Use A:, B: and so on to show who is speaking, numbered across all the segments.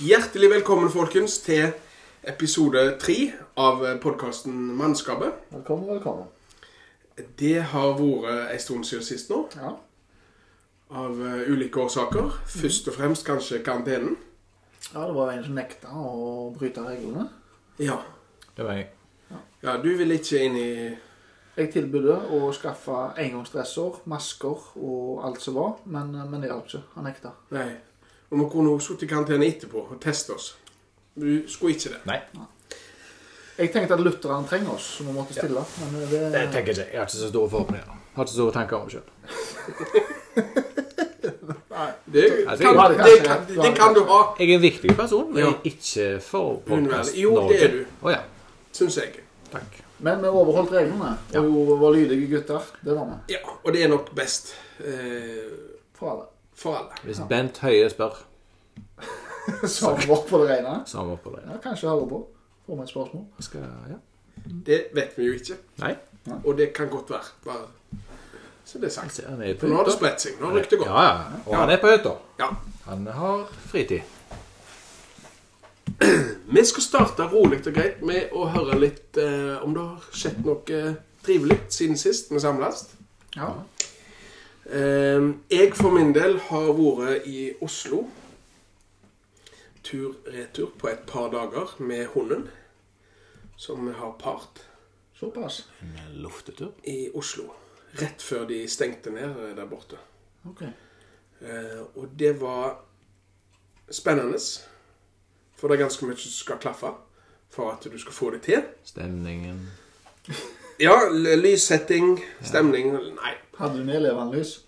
A: Hjertelig velkommen, folkens, til episode tre av podkasten Mannskapet.
B: Velkommen, velkommen.
A: Det har vært en stund siden sist nå,
B: Ja.
A: av eh, ulike årsaker. Først og fremst kanskje karantenen.
B: ja, det var jo en som nekta å bryte reglene.
A: Ja.
C: Det var jeg.
A: ja du vil ikke inn i
B: Jeg tilbød å skaffe engangsdresser, masker og alt som var, men, men det hjalp ikke. Han nekta.
A: Nei. Og vi kunne også sittet i karantene etterpå og teste oss. Du skulle ikke det.
C: Nei,
B: Jeg tenkte at lutheren trenger oss, så vi måtte stille. Men det,
C: det tenker jeg ikke. Jeg har ikke så store forhåpninger. Har ikke så store tanker om det selv.
A: Det
C: Altså,
A: kan,
B: jeg-
A: det kan, det kan du ha,
C: Jeg er en viktig person, men
A: Ja.
C: jeg er ikke for podkast
A: Jo, det er du.
C: Å ja.
A: syns jeg.
C: Takk.
B: men vi overholdt reglene
C: Ja.
B: og var lydige gutter. Det var vi.
A: Ja, Og det er nok best eh,
B: For alle.
A: for alle.
C: Hvis Bent Høie spør,
B: Så vårt på det rene.
C: så har vi på det.
B: Ja, kanskje høre på. Får vi et spørsmål?
C: Skal, ja.
A: Det vet vi jo ikke.
C: Nei.
A: Og det kan godt være. Bare så det er sagt.
C: Se, han er
A: For
C: på
A: nå har det
C: hytta.
A: spredt seg. Nå har ryktet gått.
C: Ja, ja. Og han er på hytta.
A: Ja.
C: Han har fritid.
A: Vi skal starte rolig og greit med å høre litt eh, om det har skjedd noe eh, trivelig siden sist vi samles.
B: Ja.
A: Eh, jeg for min del har vært i Oslo tur-retur på et par dager med hunden, som vi har part
B: Såpass.
C: En luftetur.
A: i Oslo. Rett før de stengte ned eh, der borte.
B: OK.
A: Eh, og det var spennende. For det er ganske mye som skal klaffe for at du skal få det til.
C: Stemningen
A: Ja, l- lyssetting, stemning Nei,
B: Hadde du nedlevende lys?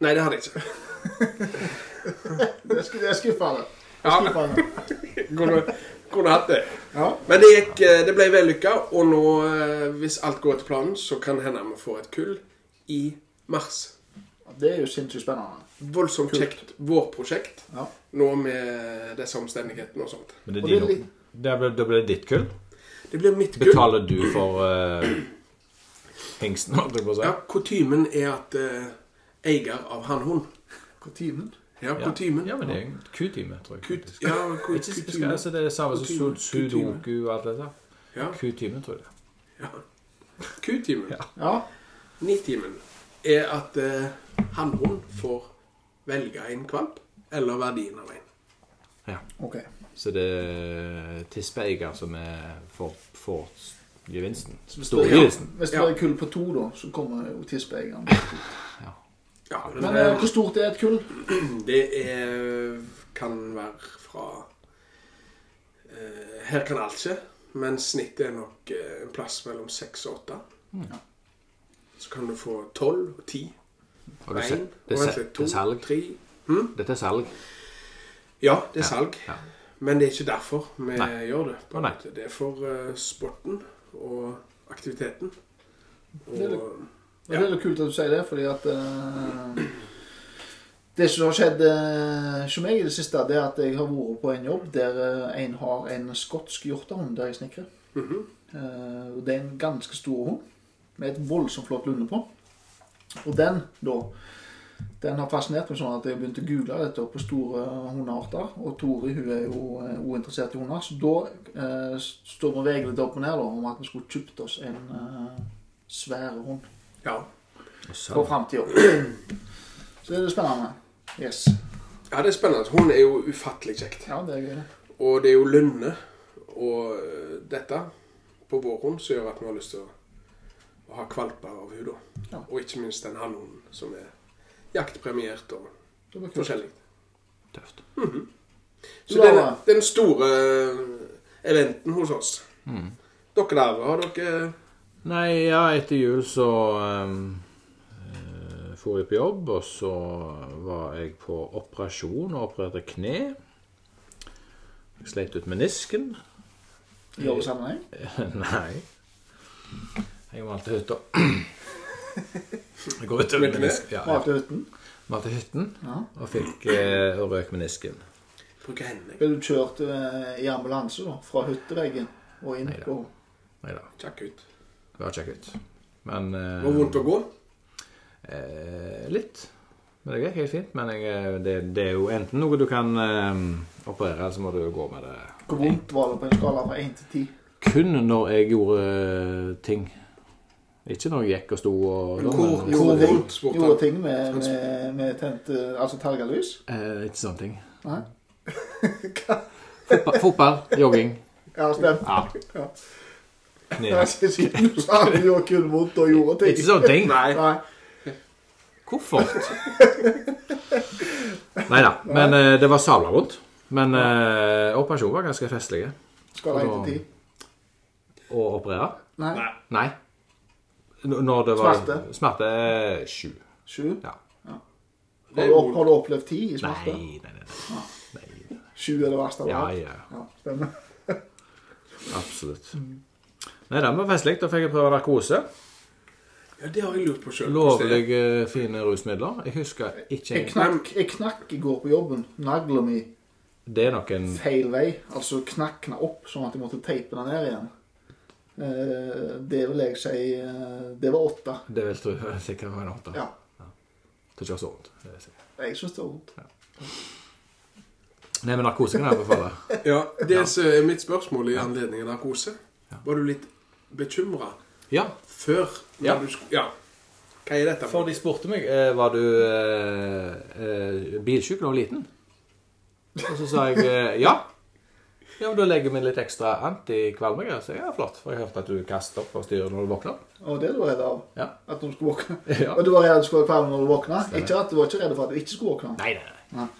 A: nei det hadde jeg ikke.
B: Det skulle jeg skuffa deg.
A: Ja,
B: Skuffa deg.
A: kunne, kunne hatt det.
B: Ja.
A: Men det, gikk, eh, det ble vellykka, og nå, eh, hvis alt går etter planen, så kan det hende vi får et kull i mars.
B: Det er jo sinnssykt spennende.
A: Voldsomt kjekt vårprosjekt
B: Ja.
A: nå med disse omstendighetene og sånt.
C: Men det
B: Og
C: er
B: det er
C: din
B: litt-
C: Da ble det ble ditt kull.
A: Det blir mitt kull.
C: Betaler du for eh, hengsten, holdt jeg på å si?
A: Ja, Kutymen er at eh, eier av hannhund
B: Kutymen.
A: Ja, kutymen.
C: Ja, men det er en Q-time, tror jeg.
A: Kut, ja, ku-
C: Ikke
A: kutyme.
C: kutyme. Altså, det er det samme som
A: Kutyme.
C: su- sudoku og alt det der.
A: Ja,
C: Kutyme, tror jeg.
A: ja. Kutymen.
C: Ja.
B: Ja.
A: Nitimen er at eh, hannhund får velge en kvalp, eller verdien av en.
C: Ja.
B: OK.
C: Så det er tispeeier som er får, får gevinsten.
B: Ja.
C: Storgevinsten.
B: Hvis det
A: Ja.
B: er et kull på to, da, så kommer jo tispeegeren.
A: Ja,
B: Men
A: men
B: eh,
A: det,
B: hvor stort er et kull?
A: det er, kan være fra eh, Her kan alt skje, men snittet er nok eh, en plass mellom seks og åtte.
C: Mm.
A: Så kan du få tolv og ti.
C: Har du sett-
A: Én,
C: Det, er se-
A: kanskje
C: det
A: to,
C: er salg.
A: tre
C: Dette er salg.
A: Ja, det er salg.
C: Ja.
A: Men det er ikke derfor vi
C: Nei.
A: gjør det. på en
C: Å, nei.
A: måte. Det er for eh, sporten og aktiviteten.
B: Det er
A: Og,
B: det- Og Det er litt kult at du sier det, fordi at eh, Det som har skjedd eh, hos meg i det siste, det er at jeg har vært på en jobb der eh, en har en skotsk hjortehund der jeg snekrer.
A: Mhm.
B: Eh, og det er en ganske stor hund med et voldsomt flott lunde på. Og den, da den har fascinert meg sånn at jeg begynte å google dette på store hundearter. Og Tori hun er jo eh, ointeressert i hunder, så da eh, står vi VG litt opp og ned da, om at vi skulle kjøpt oss en eh, svær hund
A: ja.
C: Og
B: for
C: salg.
B: framtida. Så det er spennende. Yes.
A: ja, det er spennende. Hun er jo ufattelig kjekt.
B: Ja, det er gøy. det.
A: Og det er jo lønne og eh, dette på vårhund som gjør at vi har lyst til å, å ha kvalper av henne. da.
B: Ja.
A: Og ikke minst den hannhunden som er jaktpremiert og
B: Det blir kult.
A: forskjellig.
C: Tøft.
A: Så
B: Du
A: det er
B: har-
A: den- den store eh, eventen hos oss.
C: Mm.
A: Dere der, har dere
C: Nei, ja, etter jul så um, eh, for jeg på jobb, og så var jeg på operasjon og opererte kne. Jeg sleit ut menisken.
B: I jobbsammenheng.
C: Nei. Jeg valgte hytta. Jeg går ut
A: Med kne?
C: menisken. Ja, ja.
B: Malte uten.
C: Valgte hytten
B: Ja.
C: og fikk eh, og røk menisken.
A: bruker hendene?
B: Ble du kjørt eh, i ambulanse da, fra hytteveggen og inn
C: Neida.
B: på
C: Nei da,
A: Kjakk ut.
C: det var kjekt ut. Men
A: Det var vondt å gå.
C: Eh, litt. Men det gikk helt fint. Men jeg, eh, det, det er jo enten noe du kan eh, operere, eller så må du gå med det
B: Hvor vondt var det på en skala fra 1 til 10?
C: kun når jeg gjorde eh, ting. Ikke når jeg gikk og sto og sånn,
A: Hvor- hvor
C: men-
B: Gjorde ting-
A: vondt, spurte han.
B: Gjorde ting med, med, med tent, eh, altså terga lys?
C: Eh, Ikke sånne ting.
B: Nei?
C: Fotball, fotball jogging.
B: Ja, stemt.
C: Ja.
B: Ja.
C: Knehakk.
B: Jeg skal si du sa det gjorde kun vondt og gjorde ting.
C: Ikke sånne ting.
A: Nei.
B: Nei.
C: Koffert. Nei da. Men eh, det var sabla vondt. Men eh, operasjonen var ganske festlig
B: Skala 1 til 10.
C: å operere.
B: Nei.
A: Nei.
C: Nei. N- Når det var
B: Smerte?
C: Smerte eh, sju.
B: 7?
C: Ja.
B: Har du, opp- har du opplevd 10 i smerte? Ah.
C: Nei, nei, nei. nei. nei.
B: 7 er det verste av
C: Ja,
B: alt?
C: ja.
B: Ja, stemmer.
C: Absolutt. Nei, det var festlig. Da fikk jeg prøve narkose.
A: Ja, det har jeg lurt på sjøl.
C: Lovlige, eh, fine rusmidler. Jeg husker ikke
B: Jeg
C: en-
B: knakk, jeg knakk i går på jobben. Nagla mi
C: Det er nok en
B: feil vei. Altså knakna opp, sånn at jeg måtte teipe den ned igjen. Eh, Det vil jeg si eh, Det var åtte.
C: Det vil tro eh, sikkert var en åtte.
B: Ja.
C: Det er ikke så vondt. det er sikkert.
B: Jeg syns det var vondt.
C: Nei, men narkose kan jeg anbefale.
A: Ja, det som er mitt spørsmål i anledning av narkose.
C: Ja.
A: Var du litt bekymra
C: Ja.
A: før? når
C: Ja.
A: Du sk- ja. Hva er dette?
C: For de spurte meg eh, var du eh, eh, bilsjuk da du var liten. Og så sa jeg eh, ja. Ja, men Da legger vi litt ekstra antikvalmegreier. Så jeg, ja, flott. For jeg hørte at du kaster opp og styrer når du våkner.
B: Og det er du redd av?
C: Ja.
B: At du skulle våkne?
C: Ja.
B: Og du var redd du skulle være kvalm når du våkna? Ikke at du var ikke redd for at du ikke skulle våkne?
C: Nei, nei, nei.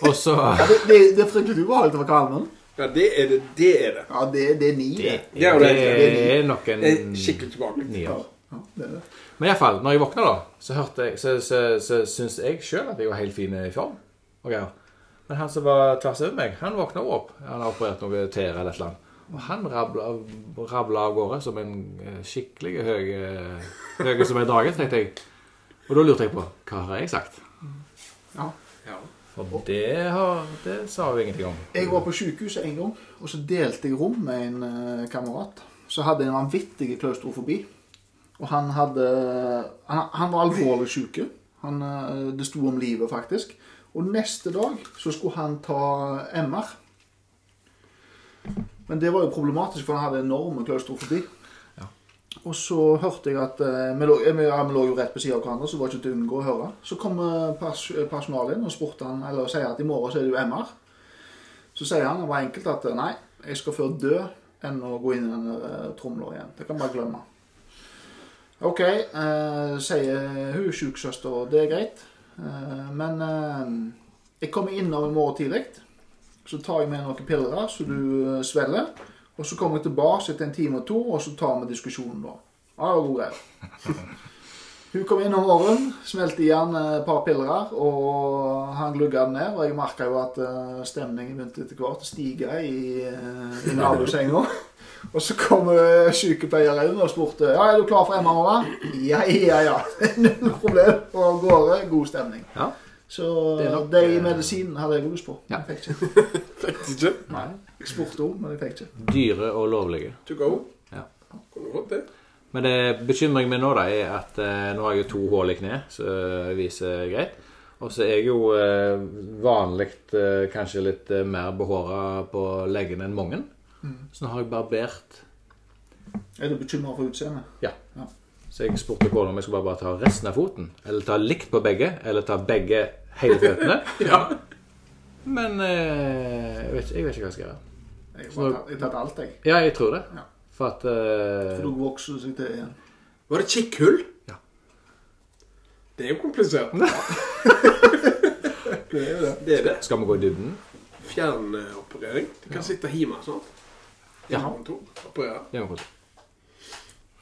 C: Og så
B: Ja, det, det, det er fryktelig ubehagelig å være kvalm.
A: Ja, det er det. Det er det.
B: Ja, det, det er ni,
C: det,
B: det.
A: er jo det.
C: det er nok en
A: Jeg er skikkelig tilbake.
B: Ja,
C: nier.
B: ja, det er det.
C: Men iallfall, når jeg våkna, da, så, hørte jeg, så, så, så syns jeg sjøl at jeg var helt fin i form. Og greier. Men han som var tvers over meg, han våkna også opp. Han har operert noe tære eller et eller annet. Og han rabla, rabla av gårde som en eh, skikkelig høy eh, høy som en drage, tenkte jeg. Og da lurte jeg på hva har jeg sagt?
B: Ja.
A: Ja.
C: For det, har, det sa hun ingenting om.
B: Jeg var på sykehuset en gang, og så delte jeg rom med en eh, kamerat. Så hadde jeg en vanvittig klaustrofobi. Og han hadde Han, han var alvorlig syk. Han, eh, det sto om livet, faktisk. Og neste dag så skulle han ta MR. Men det var jo problematisk, for han hadde enorme klaustrofobi. Og så hørte jeg at eh, vi, lå, eh, vi, ja, vi lå jo rett på siden av hverandre, så det var ikke til å unngå å høre. Så kom eh, pers personalet inn og spurte han, eller sier at i morgen så er det jo MR. Så sier han, det var enkelt, at eh, nei, jeg skal før dø enn å gå inn i den der, eh, tromla igjen. Det kan man bare glemme. Ok, eh, sier hun sjuksøster, og det er greit. Eh, men eh, jeg kommer innom i morgen tidlig, så tar jeg med noen piller så du eh, svelger. Og så kommer jeg tilbake etter en time og to, og så tar vi diskusjonen da. Ja, det var god greie. Hun kom inn om morgenen, smelte igjen eh, et par piller, og han glugga den ned. Og jeg merka jo at eh, stemningen begynte etter hvert å stige i, eh, i nabosenga. Og så kom eh, sykepleieren inn og spurte ja, er du klar for MR-året. Ja, ja, ja. Null problem. Og av gårde. God stemning.
C: Ja.
B: Så
C: Det er nok,
B: de
C: eh,
B: medisinene hadde jeg lyst på.
C: Ja.
B: Jeg fikk ikke.
A: Faktisk ikke.
C: Nei.
B: Jeg spurte om, men jeg fikk ikke.
C: Dyre og lovlige.
A: To go.
C: Ja.
A: Kunne du fått det?
C: Men det bekymringen min nå da er at eh, nå har jeg jo to hull i kne, så det viser greit. Og så er jeg jo eh, vanlig eh, kanskje litt eh, mer behåra på leggene enn mange.
A: Mm.
C: Så nå har jeg barbert
B: Er du bekymra for utseendet?
C: Ja.
B: Ja.
C: Så jeg spurte kona om jeg skulle bare, bare ta resten av foten. Eller ta likt på begge. Eller ta begge hele føttene.
A: Ja.
C: Men eh, jeg, vet, ikke- jeg vet ikke hva jeg skal gjøre.
B: Jeg har tatt- jeg har tatt alt, jeg.
C: Ja, jeg tror det.
B: Ja.
C: For at eh,
B: For da vokser det seg til igjen.
A: Var det kikkhull?
C: Ja.
A: Det er jo komplisert.
B: Det er jo det.
A: Det er det.
C: Skal vi gå i dybden?
A: Fjernoperering. Du kan sitte hjemme sånn.
C: Ja.
A: Hjemmekontor. Operere.
C: Hjemmekort.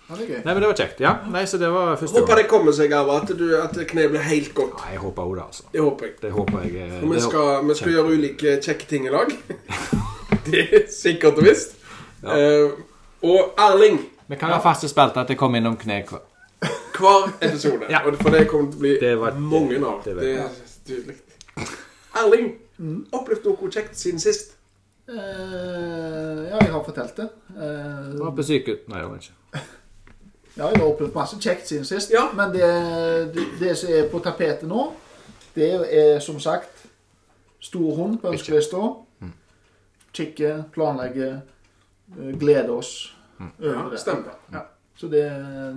B: Ja, det er gøy.
C: Nei, men det var kjekt. Ja. Nei, så det var første
A: Håper det kommer seg av at, du- at kneet blir helt godt.
C: Nei, jeg håper også det, altså.
A: Det håper jeg.
C: Det håper jeg eh,
A: Og vi
C: det håper-
A: skal, vi skal gjøre ulike kjekke ting i lag. Det er sikkert og visst.
C: Ja.
A: Eh, og Erling,
C: Vi kan ha faste spalter at det kommer innom kne hver.
A: hver episode.
C: Ja.
A: Og for det kommer til å bli
C: Det var-
A: mange av.
C: det
A: Det,
C: vet jeg.
A: er tydelig. Erling, opplevd noe kjekt siden sist?
B: Eh, ja, jeg har fortalt det. Eh,
C: Var på sykehus Nei, det var ikke.
B: ja, jeg har opplevd masse kjekt siden sist.
A: Ja.
B: Men det, det, det som er på tapetet nå, Det er som sagt stor hund på ønskelista. Kikke, planlegge, eh, glede oss over
A: Mm. Ja,
B: det.
A: stemmer.
B: Ja. Så det,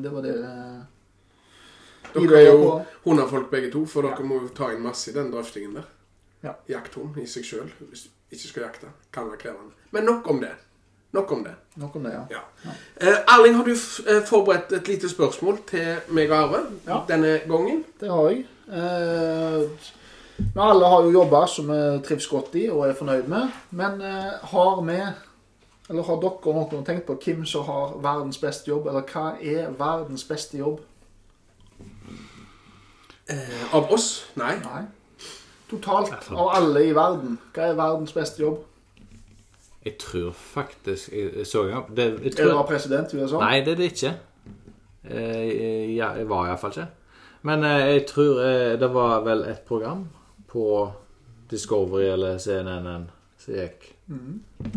B: det var det eh,
A: Dere er jo hundefolk begge to, for dere må jo ta inn masse i den drøftingen der.
B: Ja.
A: Jakthund i seg sjøl, hvis du ikke skal jakte, kan være krevende. Men nok om det. Nok om det.
B: Nok om det, ja.
A: Ja. Eh, Erling, har du f eh, forberedt et lite spørsmål til meg og Arve
B: Ja.
A: denne gangen?
B: Det har jeg. Eh, vi alle har jo jobber som vi trives godt i og er fornøyd med. Men eh, har vi, eller har dere noen tenkt på hvem som har verdens beste jobb? Eller hva er verdens beste jobb?
A: Eh, av oss? Nei.
B: Nei. Totalt av alle i verden. Hva er verdens beste jobb?
C: Jeg tror faktisk jeg, jeg så ja, det, jeg
B: Er det å
C: tror,
B: være president i USA?
C: Nei, det er det ikke. Eh, ja, jeg var iallfall ikke. Men eh, jeg tror eh, det var vel et program på Discovery eller CNN som gikk
A: Mm.
B: Mhm.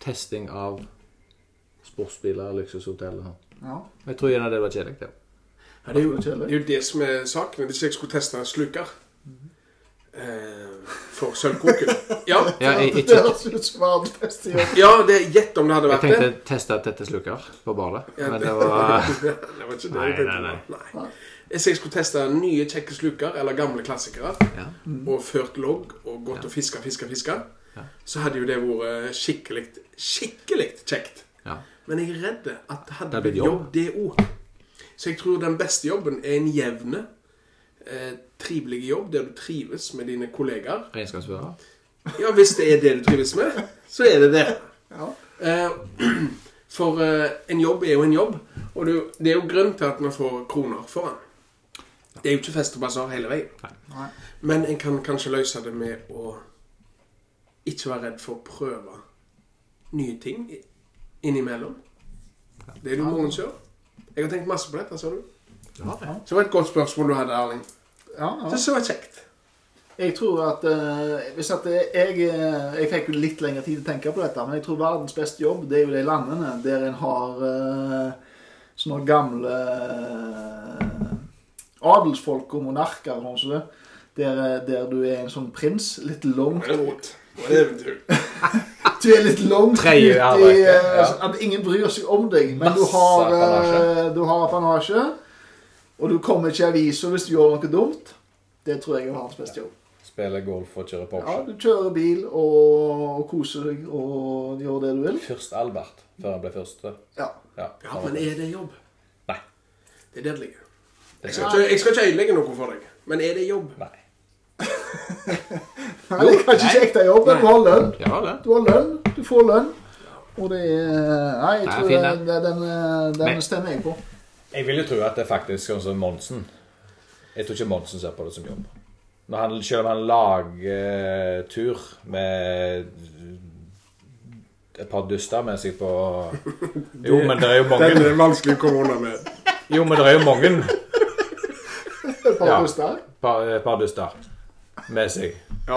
C: testing av sportsbiler, luksushotell og sånn.
B: Ja,
C: Jeg tror gjerne det var kjedelig. det.
A: Ja, det, er jo,
B: det er
A: det
B: kjedelig.
A: er jo det som er saken. Hvis jeg skulle teste sluker
B: Mhm.
A: eh, for sølvkoken Ja,
C: Ja, jeg,
B: det
C: ikke,
B: høres ut som verdens beste jobb.
A: ja det er gjett om det hadde
C: jeg
A: vært det.
C: tenkte teste tette sluker på badet, men det var
A: det var ikke det jeg
C: Nei,
A: tenkte.
C: nei,
A: på. nei. Hvis jeg skulle teste nye kjekke sluker, eller gamle klassikere,
C: ja.
A: og ført logg og gått og fiska, fiska, fiska,
C: Mm. Ja.
A: så hadde jo det vært eh, skikkelig, skikkelig kjekt.
C: Ja.
A: Men jeg er redd at det hadde
C: Det blir
A: blitt jobb, det òg. Så jeg tror den beste jobben er en jevne, eh, trivelig jobb der du trives med dine kollegaer.
C: Regnskapsfører.
A: Ja, hvis det er det du trives med, så er det det.
B: Ja.
A: Eh, For eh, en jobb er jo en jobb, og det er jo- det er jo grunn til at vi får kroner for den. Det er jo ikke fest og basar hele veien.
B: Nei.
A: Men en kan kanskje løse det med å ikke være redd for å prøve nye ting i- innimellom. Det er det jo mange som gjør. Jeg har tenkt masse på dette, sa du.
C: Ja.
A: Så det var et godt spørsmål du hadde, Erling.
B: Ja, ja.
A: Så det var kjekt.
B: Jeg tror at eh, hvis at jeg, eh, jeg fikk jo litt lengre tid til å tenke på dette, men jeg tror verdens beste jobb det er jo de landene der en har eh, sånne gamle eh, adelsfolk og monarker og sånn som det. Der, eh, der du er en sånn prins. Litt langt
A: godt. Det var et eventyr.
B: Du er litt langt
C: Tredje
B: ut i,
C: arbeid, ja.
B: eh, altså, At ingen bryr seg om deg, men du
C: Masse
B: har, eh,
C: apanasje.
B: du har apanasje. Og du kommer ikke i avisa hvis du gjør noe dumt. Det tror jeg er verdens beste jobb.
C: Spiller golf og kjører
B: Ja, du kjører bil og, og koser deg og gjør det du vil.
C: Først Albert, før han ble første.
B: Ja.
C: Ja,
A: Ja, men er det jobb?
C: Nei.
A: Det er der det ligger.
C: Det
A: Jeg skal ikke, jeg skal ikke ødelegge noe for deg, men er det jobb?
C: Nei.
B: Nei, det kan ikke kjekt deg jobb, men du har lønn.
C: Ja, det.
B: Du har lønn, du får lønn. Og det er Nei, jeg
C: Det er
B: tror
C: fin,
B: den, den, den,
C: Men-
B: stemmer jeg på.
C: Jeg vil jo tro at det er faktisk sånn som Monsen. Jeg tror ikke Monsen ser på det som jobb. Når han, selv om han lager tur med et par duster med seg på Jo, men det er jo
A: Den
C: mange.
A: er vanskelig å komme unna med.
C: Jo, men det er jo mange
B: Et par
C: Ja.
B: puster.
C: par, eh, par duster med seg.
B: Ja.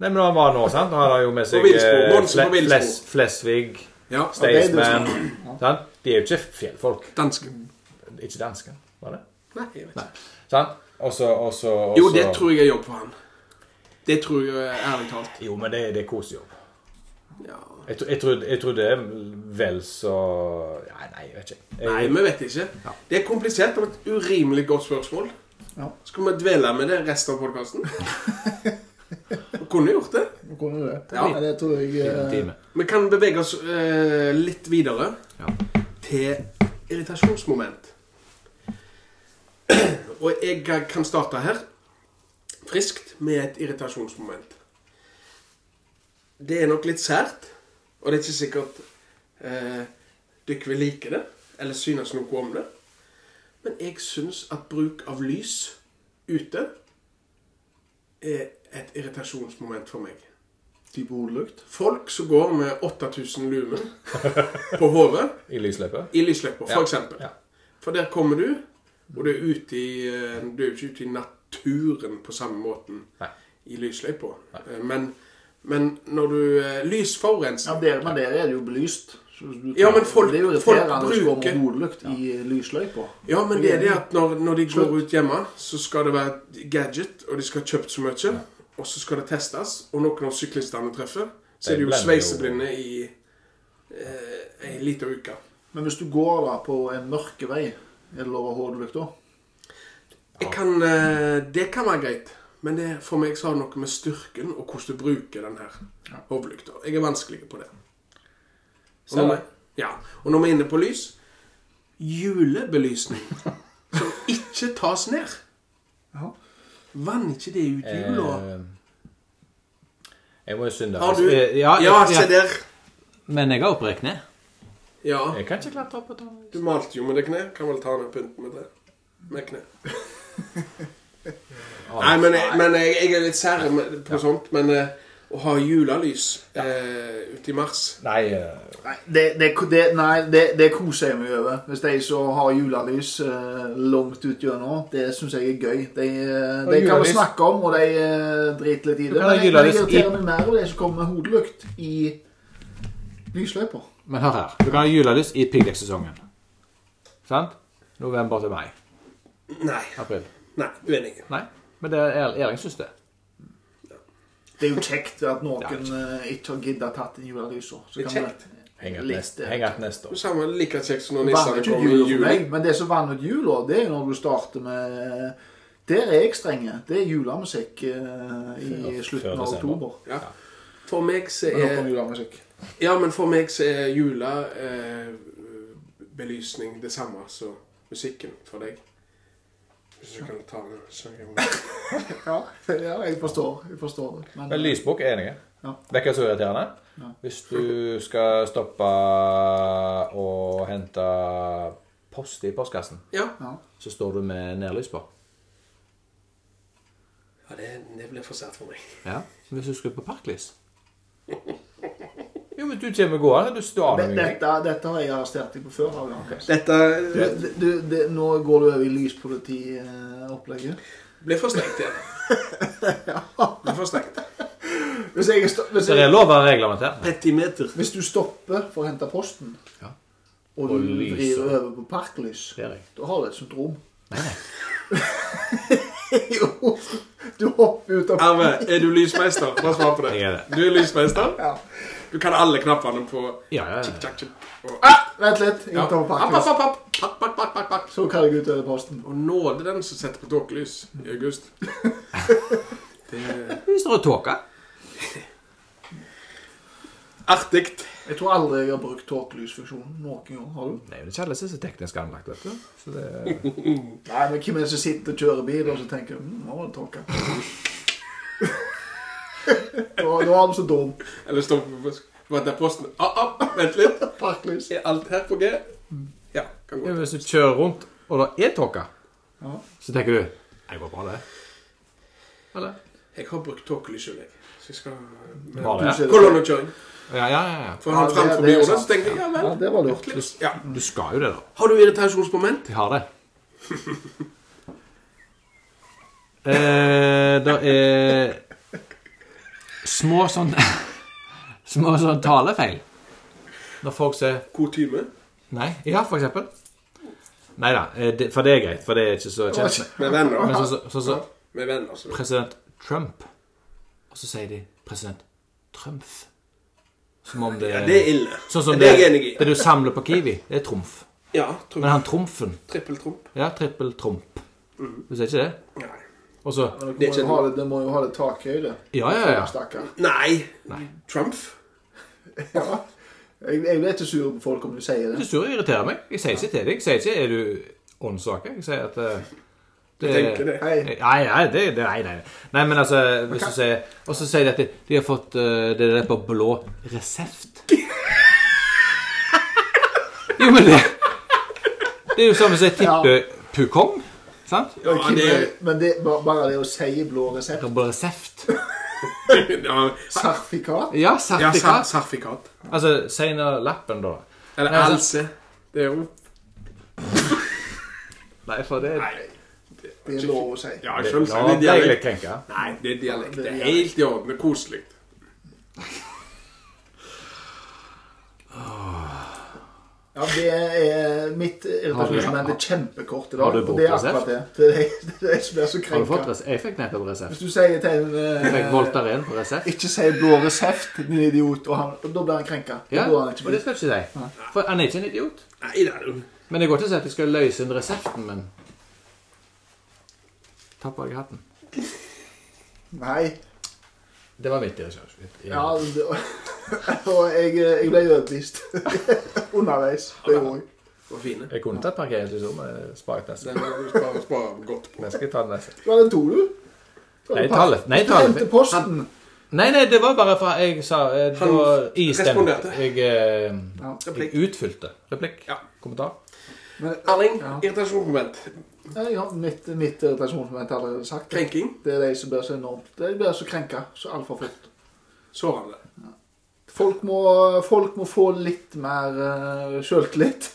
C: Nei, men han var nå, sant? Han har jo med seg
A: På villspor.
C: eh,
A: Monsen på
C: Fle-
A: villspor.
C: Fles- Flesvig,
A: Ja,
C: Staysman sant? De er jo ikke fjellfolk.
A: danske.
C: Ikke dansker, var det?
A: Nei, jeg vet ikke.
C: Sant? Og så og så- og
A: Jo,
C: så-
A: det tror jeg er jobb for han. Det tror jeg eh, ærlig talt.
C: Jo, men det, det er kosejobb.
A: Ja.
C: Jeg, tro- jeg, tror, jeg tror det er vel så Nei, nei jeg vet ikke. Jeg,
A: Nei, vi vet ikke. Det er komplisert og et urimelig godt spørsmål.
B: Ja.
A: Skal vi dvele med det resten av podkasten? Vi kunne gjort det.
B: Nå kom jo det.
A: Ja.
B: Nei, det tror jeg
C: en
B: eh,
C: time.
A: Vi kan bevege oss eh, litt videre
C: Ja.
A: til irritasjonsmoment. Og jeg kan starte her friskt med et irritasjonsmoment. Det er nok litt sært, og det er ikke sikkert eh, dere vil like det eller synes noe om det. Men jeg syns at bruk av lys ute er et irritasjonsmoment for meg
B: type hodelykt.
A: folk som går med 8000 lumen på hodet
C: I lysløype?
A: i lysløypa, for
C: Ja,
A: eksempel.
C: ja.
A: For der kommer du, og du er ute i eh, Du er jo ikke ute i naturen på samme måten
C: Nei.
A: i lysløypa. Men, men når du eh, Lysforurensning
B: Ja, der, men der er det jo belyst. Så Så du-
A: Ja, men folk-
B: det er jo
A: folk
B: irriterende å gå med
A: bruker-
B: hodelykt i lysløypa.
A: Ja, men det er det at når, når de går ut hjemme, så skal det være et gadget, og de skal ha kjøpt så mye, og så skal det testes, og noen av syklistene treffer, så
C: De
A: er de jo
C: blender jo-
A: sveiseblinde i eh, ei lita uke.
B: Men hvis du går da på en mørke vei, er det lov å ha hodelykt da?
A: Jeg kan, eh, det kan være greit, men det, for meg så har det noe med styrken og hvordan du bruker den her hovedlykta. Jeg er vanskelig på det. Og når,
C: Selv-
A: vi, ja, og når vi er inne på lys Julebelysning som ikke tas ned.
B: Ja.
A: Vann ikke det ut jula?
C: Eh, Jeg må jo synde.
A: Har du
C: Eh, Ja,
A: ja
C: jeg,
A: se
C: ja.
A: der.
C: Men jeg har opprekt ned.
A: Ja.
C: Jeg kan ikke klatre opp på taket.
A: Du malte jo med det kne. Kan vel ta ned pynten med det. Med kne. Nei, men, jeg, men jeg, jeg er litt sær med- på sånt. Men eh, å ha julelys eh, ute i mars
C: Nei, eh,
B: Nei, det, det, det, nei det, det koser jeg meg over. Hvis de som har julelys eh, langt ut gjennom, det syns jeg er gøy. De, eh, de kan
C: Og
B: vi
C: julelys-
B: snakke om, og de eh, driter litt i
C: Du
B: det.
C: kan
B: Men
C: ha
B: jeg, men jeg
C: julelys i-
B: irriterer meg mer over de som kommer med hodelykt i lysløypa.
C: Men hør her. Du kan ha julelys i piggdekksesongen. Sant? November til mai.
A: Nei.
C: April.
A: Nei, uenig.
C: Nei. Men det er Erling syns det.
B: Det er jo kjekt at noen
C: Ja.
B: eh, ikke har giddet tatt inn julelys. også. Så
A: Det er
B: kan vi-
A: kjekt.
C: Heng
B: Litt, eh,
C: neste
A: Det samme like kjekt som når
B: vanner
A: nissene
B: ikke ut
A: kommer i
B: jula for
A: juli.
B: meg, men det som vanner ut jula, det er når du starter med Der er jeg strenge. Det er julemusikk eh, i
C: Før-
B: slutten
C: før
B: av
C: desember.
B: oktober.
A: Ja. For meg så
B: Men nå
A: er
B: kommer julemusikk.
A: Ja, men for meg så er jula eh, belysning det samme som musikken for deg. Hvis du kan ta den sangen.
B: Ja, ja, jeg forstår. Jeg forstår det. Men,
C: Men lysbok er enige.
B: Ja.
C: Det er ikke så irriterende. Hvis du skal stoppe og hente post i postkassen,
A: Ja.
B: ja.
C: så står du med nærlys på.
A: ja det, det ble for sært for meg.
C: Ja. Hvis du skal på parklys Jo, men du kommer gående. Du står
B: Det-
C: med meg.
B: Dette, dette har jeg arrestert deg på før. Har jeg.
A: Dette
B: Du, du, det, nå går du over i lyspolitiopplegget.
A: ble for strengt igjen. Ble for strengt.
B: Hvis, jeg sto- hvis,
C: Det
B: jeg-
C: er lover og regler med dette.
A: Petimeter.
B: hvis du stopper for å hente posten,
C: Ja.
B: og
C: Og
B: du
C: lyser.
B: vrir over på parklys,
C: Det er jeg.
B: da har du et syndrom. jo. Du hopper ut av
A: Arve, er du lysmeister? Bare svar på det.
C: Jeg er det.
A: Du er lysmeister?
B: Ja.
A: Du kan alle knappene på
C: Ja, ja, ja.
A: tjakk, tjakk. Og
B: Vent litt. Jeg tar på
A: App,
B: parklys.
A: app, app, app. Pakk, pakk, pakk, pakk, pakk.
B: Så kan jeg ut over posten.
A: Og nåde den som setter på tåkelys i august.
C: Hvis det er tåke.
A: Artig.
B: Jeg tror aldri jeg har brukt tåkelysfunksjonen noen gang. Har du?
C: Nei, det er ikke alle som er så teknisk anlagt, vet du. Så det
B: Nei, men hvem er det som sitter og kjører bil og så tenker mm, nå var det tåke? nå, nå er han så dum.
A: Eller stå på Vent, der posten. Ah, ah, vent litt.
B: Parklys.
A: Er alt her på G? Ja, kan
C: Ja,
A: gå.
C: men Hvis du kjører rundt, og det er tåke,
B: Ja.
C: så tenker du Det går bra, det. Eller?
A: Jeg har brukt tåkelys selv, jeg. Så jeg skal
C: Bra,
B: Du
C: det.
B: ser det.
A: Kolonnekjøring.
C: Ja, ja, ja. ja.
A: For han
B: Ja, det-
A: framfor
B: det er
A: meg gjorde det,
B: sant.
A: så tenkte jeg ja
B: Ja,
A: vel.
B: det var lurt.
A: klips. Ja.
C: Du skal jo det, da.
A: Har du irritasjonsmoment?
C: De har det. Eh, det er små sånn Små sånn talefeil. Når folk sier
A: Kutyme?
C: nei. Ja, for eksempel. Nei da, eh, det- for det er greit, for det er ikke så kjent. med.
A: Med venner.
C: Men sånn som så, så,
A: Med venner, altså. så.
C: president Trump, og så sier de president Trump. Som om det
A: Ja, det er ille.
C: Sånn som
A: det
C: det,
A: er jeg enig i.
C: det du samler på Kiwi, det er trumf.
A: Ja,
C: Men
A: trump.
C: han trumfen
A: Trippeltrump.
C: Ja, trippel trump.
A: Mhm.
C: Du sier ikke det?
A: Nei.
C: Og så
B: Men
A: Det
B: dere
A: er
B: må
A: ikke-
B: jo ha det, det må jo ha det takhøyde.
C: Ja, ja, ja.
B: Stakkar.
A: Nei. Trump.
B: Ja. Jeg, jeg blir ikke sur på folk om de sier
C: Det
B: det.
C: surrer og irriterer meg. Jeg sier ikke til deg. Jeg sier ikke 'er du åndssvake'. Jeg sier at eh, det,
A: Jeg tenker det.
B: Hei.
C: Nei, nei, det, det, nei, nei. nei, men altså hvis du sier, Og så sier de at de, de har fått eh, det der på blå resept. Jo, men det Det er jo samme som jeg tipper pukong. Sant?
A: Ja, det er
B: Men det, ba- bare det å si blå resept
C: På resept.
A: ja,
B: Sertifikat?
C: Ja,
A: ja, sar-
C: sertifikat.
A: sertifikat.
C: Altså, si nå lappen, da.
A: Eller
C: Nei, altså-
A: else. Det er jo
C: Nei, for det
A: Nei.
B: Det er lov å si.
A: Ja,
C: det,
A: selvsagt. Det
C: Da
A: er
C: ble jeg litt
A: dialekt.
C: krenka.
A: Nei, det er dialekt.
B: Det
A: Det
B: er
A: er helt i orden. Det er koselig.
B: Ja, det er mitt irritasjonsmoment er kjempekort i dag.
C: Har du brukt
B: og det er
C: resept?
B: akkurat det. Det er det- det er det som blir så
C: Har du fått
B: krenka.
C: resept? Jeg fikk nettopp
B: Hvis
C: resept.
B: du sier til en
C: Jeg fikk
B: eh,
C: Voltaren på resept.
B: Ikke si blå resept, din idiot, og, han, og da blir han krenka.
C: Ja,
B: Da går han
C: og
B: ikke
C: det
B: med.
C: skal jeg ikke si. For han er ikke en idiot.
A: Nei, det er jo
C: Men jeg går ikke og sier at jeg skal løse inn resepten, men Tappa jeg hatten.
B: Nei.
C: Det var mitt irritasjonsmoment.
B: Ja, det, og jeg, jeg ble overbevist underveis. Det gjorde jeg.
A: for fine.
C: Jeg kunne tatt parkeringshuset, men jeg sparer nesten.
A: Den må du spare, spare godt på.
C: Men jeg skal ta den neste.
B: Var det to, du? Var det
C: Nei,
B: par-
C: tallet. Nei,
B: Du
C: tallet.
B: nevnte posten.
C: Nei, nei, det var bare fra jeg sa eh, det
A: Han
C: var Jeg
A: responderte.
C: stemte. Jeg, eh,
B: Ja.
A: Replikk.
C: jeg utfylte. Replikk?
A: Ja.
C: Kommentar?
B: Men
A: Erling,
B: Ja.
A: irritasjonsmoment.
B: jeg har mitt, mitt irritasjonsmoment har jeg allerede sagt. det.
A: Krenking.
B: Det er de som blir så enormt De blir så krenka så altfor fort.
A: Sårende.
B: Folk må, folk må få litt mer uh, sjøltillit.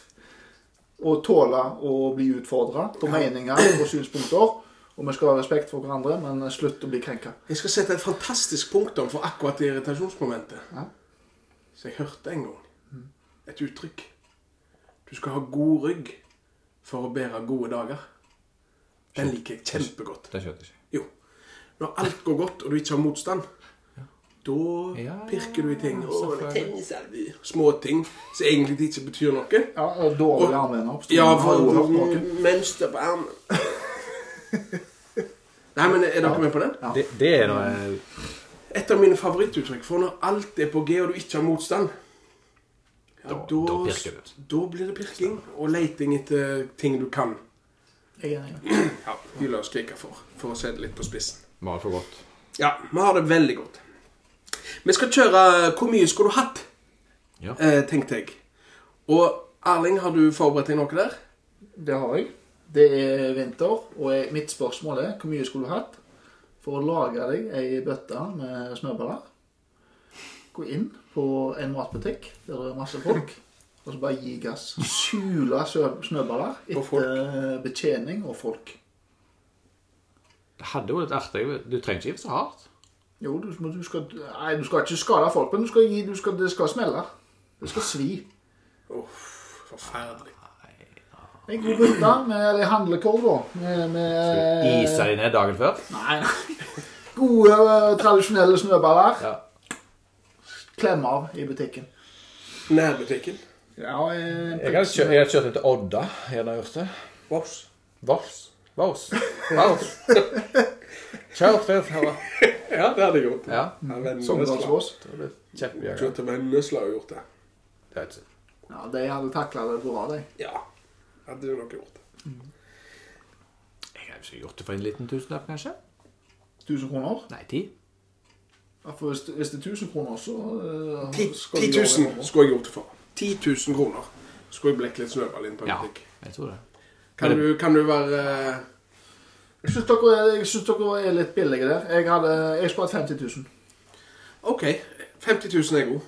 B: Og tåle å bli utfordra på meninger og synspunkter. Og vi skal ha respekt for hverandre, men slutt å bli krenka.
A: Jeg skal sette et fantastisk punktum for akkurat det irritasjonsmomentet.
B: Ja. Mm.
A: Så jeg hørte en gang. Et uttrykk. Du skal ha god rygg for å bære gode dager. Den liker jeg kjempegodt.
C: Det skjønte jeg ikke.
A: Jo. Når alt går godt, og du ikke har motstand, da
C: Ja, ja,
A: pirker du i ting.
C: ja,
A: Å,
C: selvfølgelig.
A: tennisalbu. Småting som egentlig ikke betyr noe.
B: Ja, og Dårlige armlener. oppstår.
A: Ja,
B: Har du hørt
A: for
B: noe?
A: mønster på armen. Nei, men er dere med på den?
B: Ja.
C: Det, det er noe eh,
A: Et av mine favorittuttrykk, for når alt er på G og du ikke har motstand ja,
C: Da- da pirker du.
A: Da blir det pirking og leiting etter ting du kan.
B: Jeg er enig.
A: Ja, Hylle og skrike for, for å se det litt på spissen.
C: Bare for godt.
A: Ja, vi har det veldig godt. Vi skal kjøre Hvor mye skulle du hatt?
C: Ja.
A: Eh, tenkte jeg. Og Erling, har du forberedt deg noe der?
B: Det har jeg. Det er vinter, og jeg, mitt spørsmål er hvor mye skulle du hatt for å lage deg ei bøtte med snøballer? Gå inn på en matbutikk der det er masse folk, og så bare gi gass. Sule sø- snøballer
A: Og folk.
B: etter betjening og folk.
C: Det hadde jo litt artig. Du trenger ikke gi så hardt.
B: Jo, du, men du, skal, nei, du skal ikke skade folk, men du skal gi, du skal, det skal smelle. Det skal svi.
A: Uff, forferdelig.
B: En god bøtte med eller handlekorv, da. Med, med,
C: Isa deg ned dagen før.
B: Nei, nei. Gode, eh, tradisjonelle snøballer.
C: Ja.
B: Klem av i butikken.
A: Nærbutikken.
B: Ja, eh,
C: Jeg har kjørt, jeg har kjørt etter Odda. Jeg har gjort det.
A: Voss.
C: Vars. Vars. Vars. Kjørt det.
A: Ja, det hadde jeg gjort.
C: Ja.
A: Vennesla.
B: Sogndalsås.
C: Det ble kjempejaga.
A: Kjørt til Vennesla og gjort det.
C: Det er ikke-
B: Ja, de hadde takla det bra, de.
A: Ja, hadde du nok gjort.
C: Jeg har ikke gjort det for en liten tusenlapp, kanskje?
B: 1000 kroner?
C: Nei, ti.
B: Ja, for hvis, det- hvis det er 1000 kroner, så eh,
A: 10
B: skal vi
A: 10
B: gjøre det
A: 000
B: nå.
A: skulle jeg gjort det for. 10 000 kroner skulle jeg blekke litt snøball inn på en
C: Ja,
A: butikk.
C: jeg tror det.
A: Kan,
C: Men
A: du, kan du være eh,
B: Jeg syns dere, er- jeg synes dere er litt billige der. Jeg, hadde, jeg skulle hatt 50 000.
A: OK, 50 000 er god.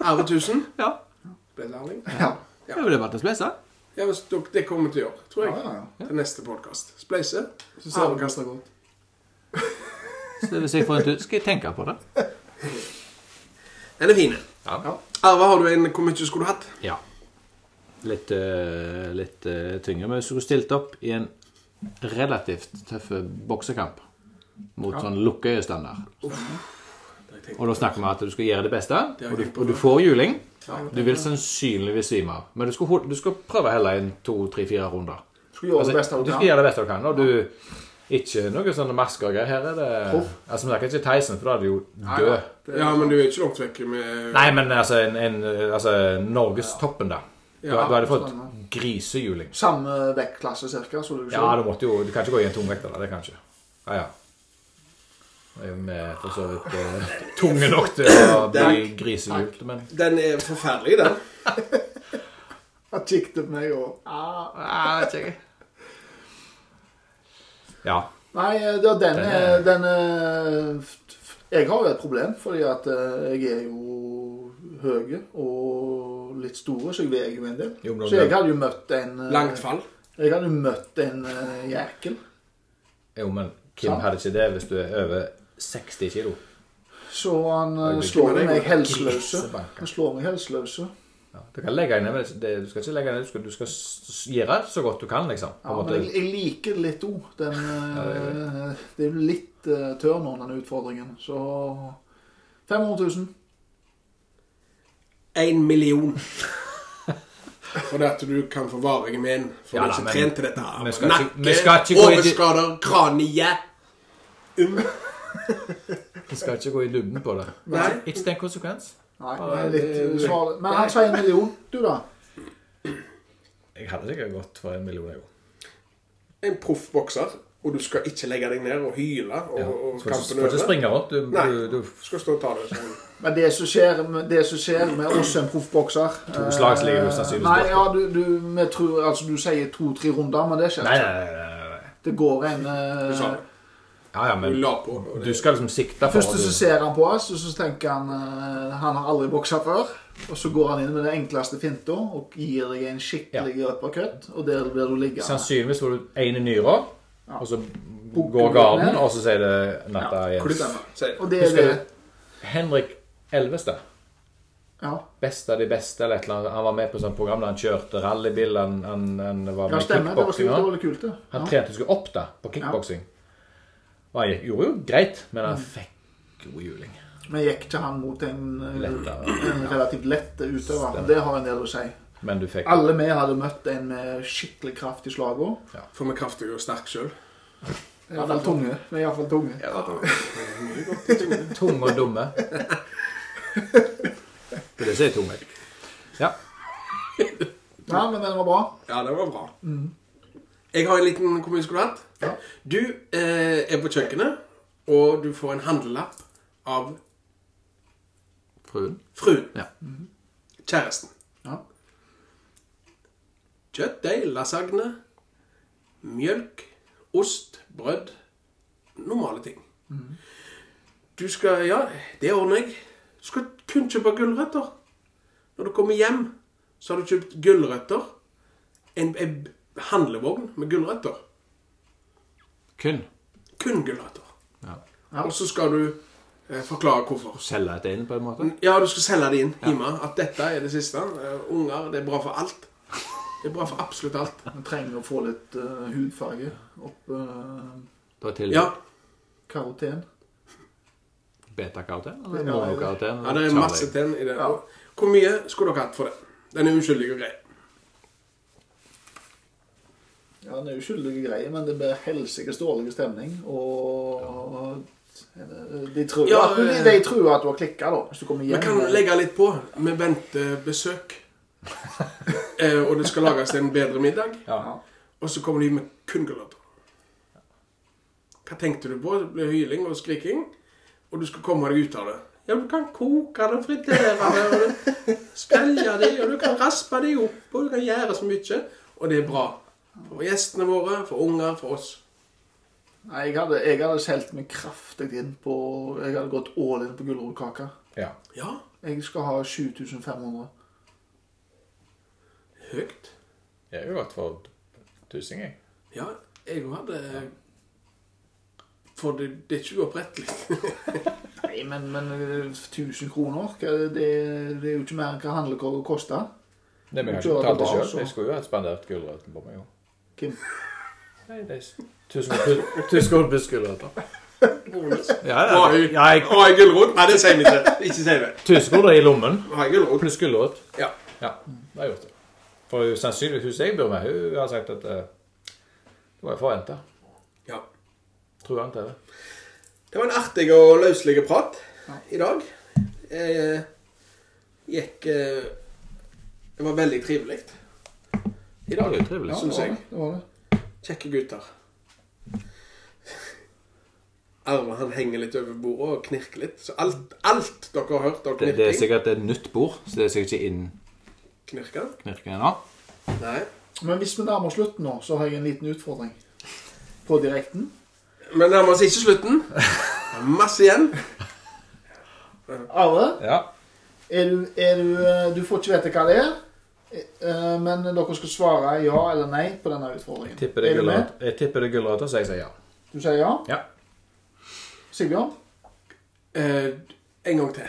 A: Arve 1000.
C: Ja.
A: Ble det Erling?
B: Ja.
C: Det ville vært en spleise.
A: Ja, men dere- det kommer til å gjøre, tror
B: Ja,
A: jeg.
B: ja, ja.
A: Til neste podkast. Spleise.
B: Så ser vi hva som er godt.
C: Så hvis jeg får en tur, skal jeg tenke på det.
A: Den er fin.
C: Ja.
A: Arve, har du en hvor mye skulle du hatt?
C: ja. Litt, eh, litt eh, tyngre. Men hvis du skulle stilt opp i en relativt tøff eh, boksekamp mot sånn lukkeøyestandard Og da snakker vi at du skal gjøre det beste,
A: Det har
C: og du,
A: jeg gjort.
C: og du får juling.
A: Ja.
C: Du vil sannsynligvis svime av. Men du skal, hol- du skal prøve å helle inn to, tre, fire runder.
B: Skulle gjøre det beste
C: Altså,
B: av
C: du
B: det.
C: skal gjøre det beste du kan. Og du Ikke noe sånne masker og greier. Her er det
B: Proff.
C: Altså, Vi snakker ikke Tyson, for da er du jo
B: Nei,
C: død.
B: nei. Det-
A: Ja, men du er ikke langt vekke med
C: Nei, men altså, en, en, altså Norgestoppen, da. Du,
A: Ja,
C: du hadde fått
B: sånn,
C: grisehjuling.
B: Samme vektklasse cirka, så du
C: Ja,
B: ser.
C: du måtte jo Du kan ikke gå i en tungvekter, da. Det kan du ikke. Ja, ja. Jeg er med for så vidt eh, tunge nok til å bli grisehjult, men
A: Den er forferdelig, den.
B: Han kikket på meg og ah.
C: ah, vet ikke. Ja.
B: Nei, eh, ja, den er,
C: Den
B: den er Jeg har jo et problem, fordi at eh, jeg er jo høy og litt stor, så jeg veier jo en del.
C: Jo, men
B: Så jeg hadde jo møtt en eh,
A: Langt fall.
B: Jeg hadde jo møtt en eh, jækel.
C: Jo, men Kim
B: Sant.
C: hadde ikke det hvis du er over 60 kilo.
B: Så han eh,
C: Jeg vil ikke
B: slår
A: med deg,
B: meg
A: men-
B: helseløse.
C: Grisebanker.
B: Han slår meg helseløse.
C: Ja, du kan legge inn, men det, du skal ikke legge inn, du skal, du skal s- gjøre så godt du kan, liksom. på
B: Ja,
C: en
B: men
C: måte.
B: jeg, jeg liker det litt òg. Den eh, Det er jo litt eh, tørr nå, denne utfordringen. Så 500 000.
A: Én million. For det at du kan få varige men. For
C: Ja,
A: du
C: da,
A: har ikke
C: men-
A: trent til dette. her.
C: vi skal ikke- vi
A: Nakke,
C: skal ikke gå i-
A: overskader, kranie. Um.
C: Jeg skal ikke gå i dybden på det.
A: Nei.
C: Ikke tenk konsekvens.
B: Nei,
C: Ja,
B: det er litt
A: det-
B: eh, svar- Men han sier en million. Du, da?
C: Jeg hadde sikkert gått for en million euro.
A: En proff bokser, og du skal ikke legge deg ned og hyle og,
C: Ja.
A: og
C: Du
A: kampen
C: skal ikke- du skal ikke
A: over.
C: springe rundt. Du,
A: Nei.
C: du, du
A: Du skal stå og ta det sånn.
B: Men det som skjer med, det som skjer med oss en proffbokser
C: To slag ligger du sannsynligvis
B: Nei,
C: borte.
B: ja, du, du, vi tror, altså, du sier to-tre runder, men det skjer
C: Nei,
B: ikke.
C: nei, nei, nei. nei.
B: Det går en eh,
A: Du sa det.
C: Ja, ja,
A: Du
C: men
A: la på. og
C: du
A: det-
C: skal liksom sikte for
B: Først så
C: du-
B: ser han på oss, og så tenker han eh, han har aldri boksa før. Og så går han inn med den enkleste finta og gir deg en skikkelig uppercut, og der blir du liggende.
C: Sannsynligvis får du én i nyra,
B: Ja.
C: og så
B: Bukker
C: går garden,
B: ned.
C: og så sier det natta
B: Ja,
C: igjen.
A: Stemmer. sier jeg.
B: Og det er
C: Husker
B: det.
C: du? Henrik Elvestad.
B: Ja,
C: Beste av de beste, eller et eller annet. Han var med på sånt program der han kjørte rallybil. Han, han, han var
B: ja
C: med i
B: stemmer. Det var, kult,
C: kickboksing.
B: det
C: Han,
B: var litt kult, det.
C: han
B: Ja.
C: trente seg opp da, på kickboksing. Og han gikk- gjorde jo greit, men
B: Mm.
C: han fikk god juling.
B: Men gikk ikke han mot en, eh,
C: Lettere.
B: en relativt lette utøver? Det har en del å si.
C: Men du fikk
B: Alle vi hadde møtt en med skikkelig kraft i slagord.
A: For vi er kraftige og sterke sjøl.
B: Iallfall tunge. Men iallfall tunge.
C: tung og dumme. Det er det som er tung. jeg. Ja.
B: Ja, men den var bra.
A: Ja, det var bra.
C: Mm.
A: Jeg har en liten Hvor mye skulle du hatt?
B: Ja.
A: Du eh, er på kjøkkenet, og du får en handlelapp av
C: Fruen.
A: fruen.
C: Ja.
A: Kjæresten.
B: Ja.
A: Kjøttdeig, lasagne, mjølk, ost, brød. Normale ting.
C: Mhm.
A: Du skal Ja, det ordner jeg. Du skal kun kjøpe gulrøtter. Når du kommer hjem, så har du kjøpt gulrøtter. En, en handlevogn med gulrøtter.
C: Kun.
A: Kun gulrøtter.
C: Ja.
B: Ja.
A: Og så skal du eh, forklare hvorfor.
C: Selge et inn, på en måte.
A: Ja, du skal selge det inn hjemme. At dette er det siste. Eh, unger, det er bra for alt. Det er bra for absolutt alt.
B: Vi trenger å få litt eh, hudfarge opp eh,
C: Da er til
A: Ja,
B: karoten.
C: beta-karoten
B: Ja,
C: eller
B: ja.
C: monokaroten.
A: ja det er masse tenn i det.
B: Ja.
A: Hvor mye skulle dere hatt for det? Den er uskyldig og grei.
B: Ja, den er uskyldige greier, men det blir helsikes dårlig stemning. Og Eh, de tror,
A: Ja,
B: at, de, de tror at du har klikka, da. Hvis du kommer
A: Vi
B: hjem.
A: kan legge litt på. Vi venter besøk. eh, og det skal lages en bedre middag.
C: Ja.
B: Ja.
A: Og så kommer de med kun gulrøtter. Hva tenkte du på? Det blir hyling og skriking. Og du skal komme deg ut av det. Ja, du kan koke det, fritere det, og du skrelle det, og du kan raspe det opp, og du kan gjøre så mye. Og det er bra. For gjestene våre, for unger, for oss.
B: Nei, jeg hadde, jeg hadde solgt meg kraftig inn på Jeg hadde gått all in på gulrotkaka.
C: Ja.
A: Ja,
B: Jeg skal ha 7500.
A: høyt.
C: Jeg er jo godt for tusing, jeg.
A: Ja, jeg hadde For det, det er ikke uopprettelig.
B: Nei, men, men eh, 1000 kroner hva er det, det er jo ikke mer enn hva handlekortet koster.
C: Nei, men jeg har
B: Kjører
C: ikke betalt det
B: bare
C: sjøl.
B: så.
C: Jeg skulle jo ha spandert gulrøtten på meg òg.
B: Kim.
C: Nei, det er Tusenkornbussgulrøtter.
A: Bonus.
C: Ja, ja.
A: Har jeg-
C: ja, jeg-
A: har jeg gulrot? Nei, det sier vi ikke. Ikke si det.
C: Tusenkorn er i lommen.
A: Har jeg gulrot?
C: Pluss gulrot.
A: Ja.
C: Ja, det har jeg gjort. det. For hun sannsynligvis hun jeg bor med, hun har sagt at eh, det var forventa.
A: ja.
C: Tror han til det.
A: Det var en artig og løslig prat i dag. Jeg eh, gikk eh, Det var veldig trivelig.
C: I dag er det trivelig.
B: Ja,
A: Synes
B: det var
A: jeg.
B: det. det var det.
A: Kjekke gutter. Arve han henger litt over bordet og knirker litt. Så alt, alt dere har hørt av
C: Det, det er
A: knirking
C: sikkert et nytt bord, så det er sikkert ikke innknirking
A: Knirker?
C: ennå.
A: Nei.
B: Men hvis vi nærmer oss slutten nå, så har jeg en liten utfordring. På direkten.
A: Men nærmer oss ikke slutten. Masse igjen.
B: Arve,
C: Ja.
B: er du, er du, eh, du får ikke vite hva det er, eh, men dere skal svare ja eller nei på denne utfordringen.
C: Jeg tipper det
B: Er
C: er
B: du med?
C: gulrøtter, jeg tipper det er gulrøtter, så jeg sier ja.
B: Du sier ja?
C: Ja.
B: Sigbjørn?
A: Eh, en gang til.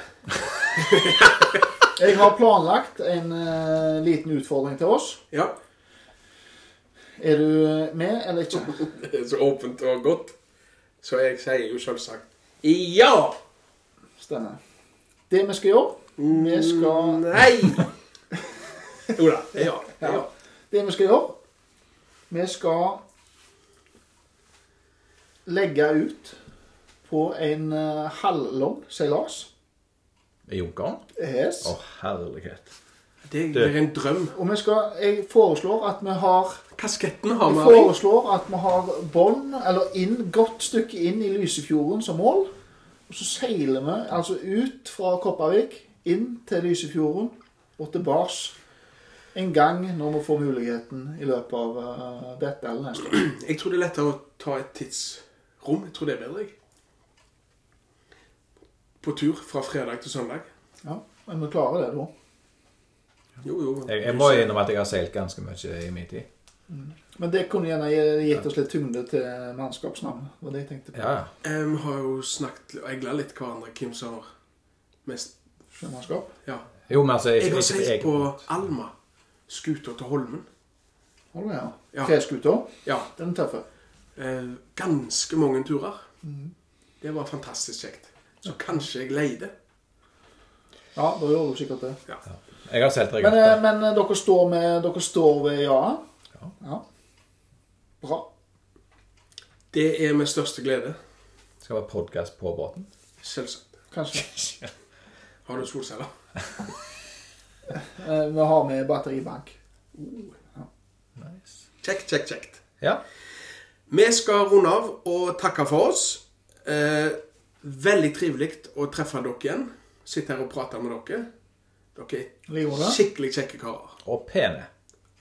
B: Jeg har planlagt en eh, liten utfordring til oss.
A: Ja.
B: Er du eh, med eller ikke?
A: Det er så åpent og godt. Så jeg sier jo selvsagt ja!
B: Stemmer. Det vi skal gjøre, vi skal
A: Nei! Jo da. det er Ja. det er ja.
B: Det vi skal gjøre Vi skal legge ut på en uh, halvlang seilas.
C: I Junkeren?
B: Yes.
C: Å, herlighet.
A: Det blir en drøm.
B: Og vi skal, jeg foreslår at vi har
A: Kasketten har
B: Jeg
A: vi. Ari.
B: foreslår at vi har bånd, eller inn, godt stykke inn i Lysefjorden som mål. Og så seiler vi altså ut fra Kopervik, inn til Lysefjorden og tilbake en gang når vi får muligheten i løpet av eh, dette eller neste år.
A: Jeg tror det er lettere å ta et tidsrom. Jeg tror det er bedre, jeg. På tur fra fredag til søndag.
B: Ja, men vi klarer det da.
A: Jo, jo.
C: Jeg, jeg må innrømme at jeg har seilt ganske mye i min tid.
B: Men det kunne gjerne gi- gitt oss litt tyngde til mannskapsnavnet. var det jeg tenkte på.
C: Ja, ja.
A: Eh, Vi har jo snakket og egla litt hverandre hvem som har mest
B: Sjømannskap.
A: Ja.
C: Jo, men altså
A: Jeg har seilt på
C: jeg-
A: Alma. Skuta til Holmen.
B: Holder det,
A: Ja.
B: ja. Treskuta.
A: Ja.
B: Den er tøffe.
A: Eh, ganske mange turer.
C: Mm.
A: Det var fantastisk kjekt. Så kanskje jeg leide.
B: Ja, da gjør du sikkert det.
A: Ja.
C: Jeg har seilt
B: Men,
C: regatta.
B: eh, men eh, dere, står med, dere står ved ja-en?
C: Ja.
B: Bra.
A: Det er med største glede.
C: Skal være podkast på båten.
A: Selvsagt.
B: Kanskje.
A: Har du solceller?
B: Eh, Vi har med batteribank.
C: Nice.
A: Kjekt, kjekt, kjekt.
C: Ja.
A: Vi skal runde av og takke for oss. Eh, veldig trivelig å treffe dere igjen. Sitte her og prate med dere. Dere er
B: Livhode.
A: skikkelig kjekke karer.
C: Og pene.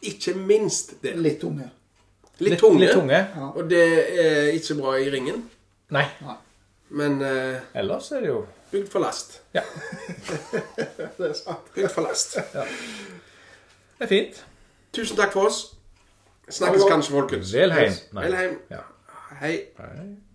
A: Ikke minst det.
B: Litt unge.
A: Litt tunge.
C: Litt tunge.
B: Ja.
A: Og det er ikke bra i ringen,
C: Nei.
A: men eh,
C: Ellers er det jo
A: bygd for last.
C: Ja.
B: Det er sant.
A: Bygd for last.
C: Det er fint.
A: Tusen takk for oss. Snakkes kanskje, folkens.
C: Velheim.
A: Velheim.
C: Ja.
A: Hei.
C: Hei.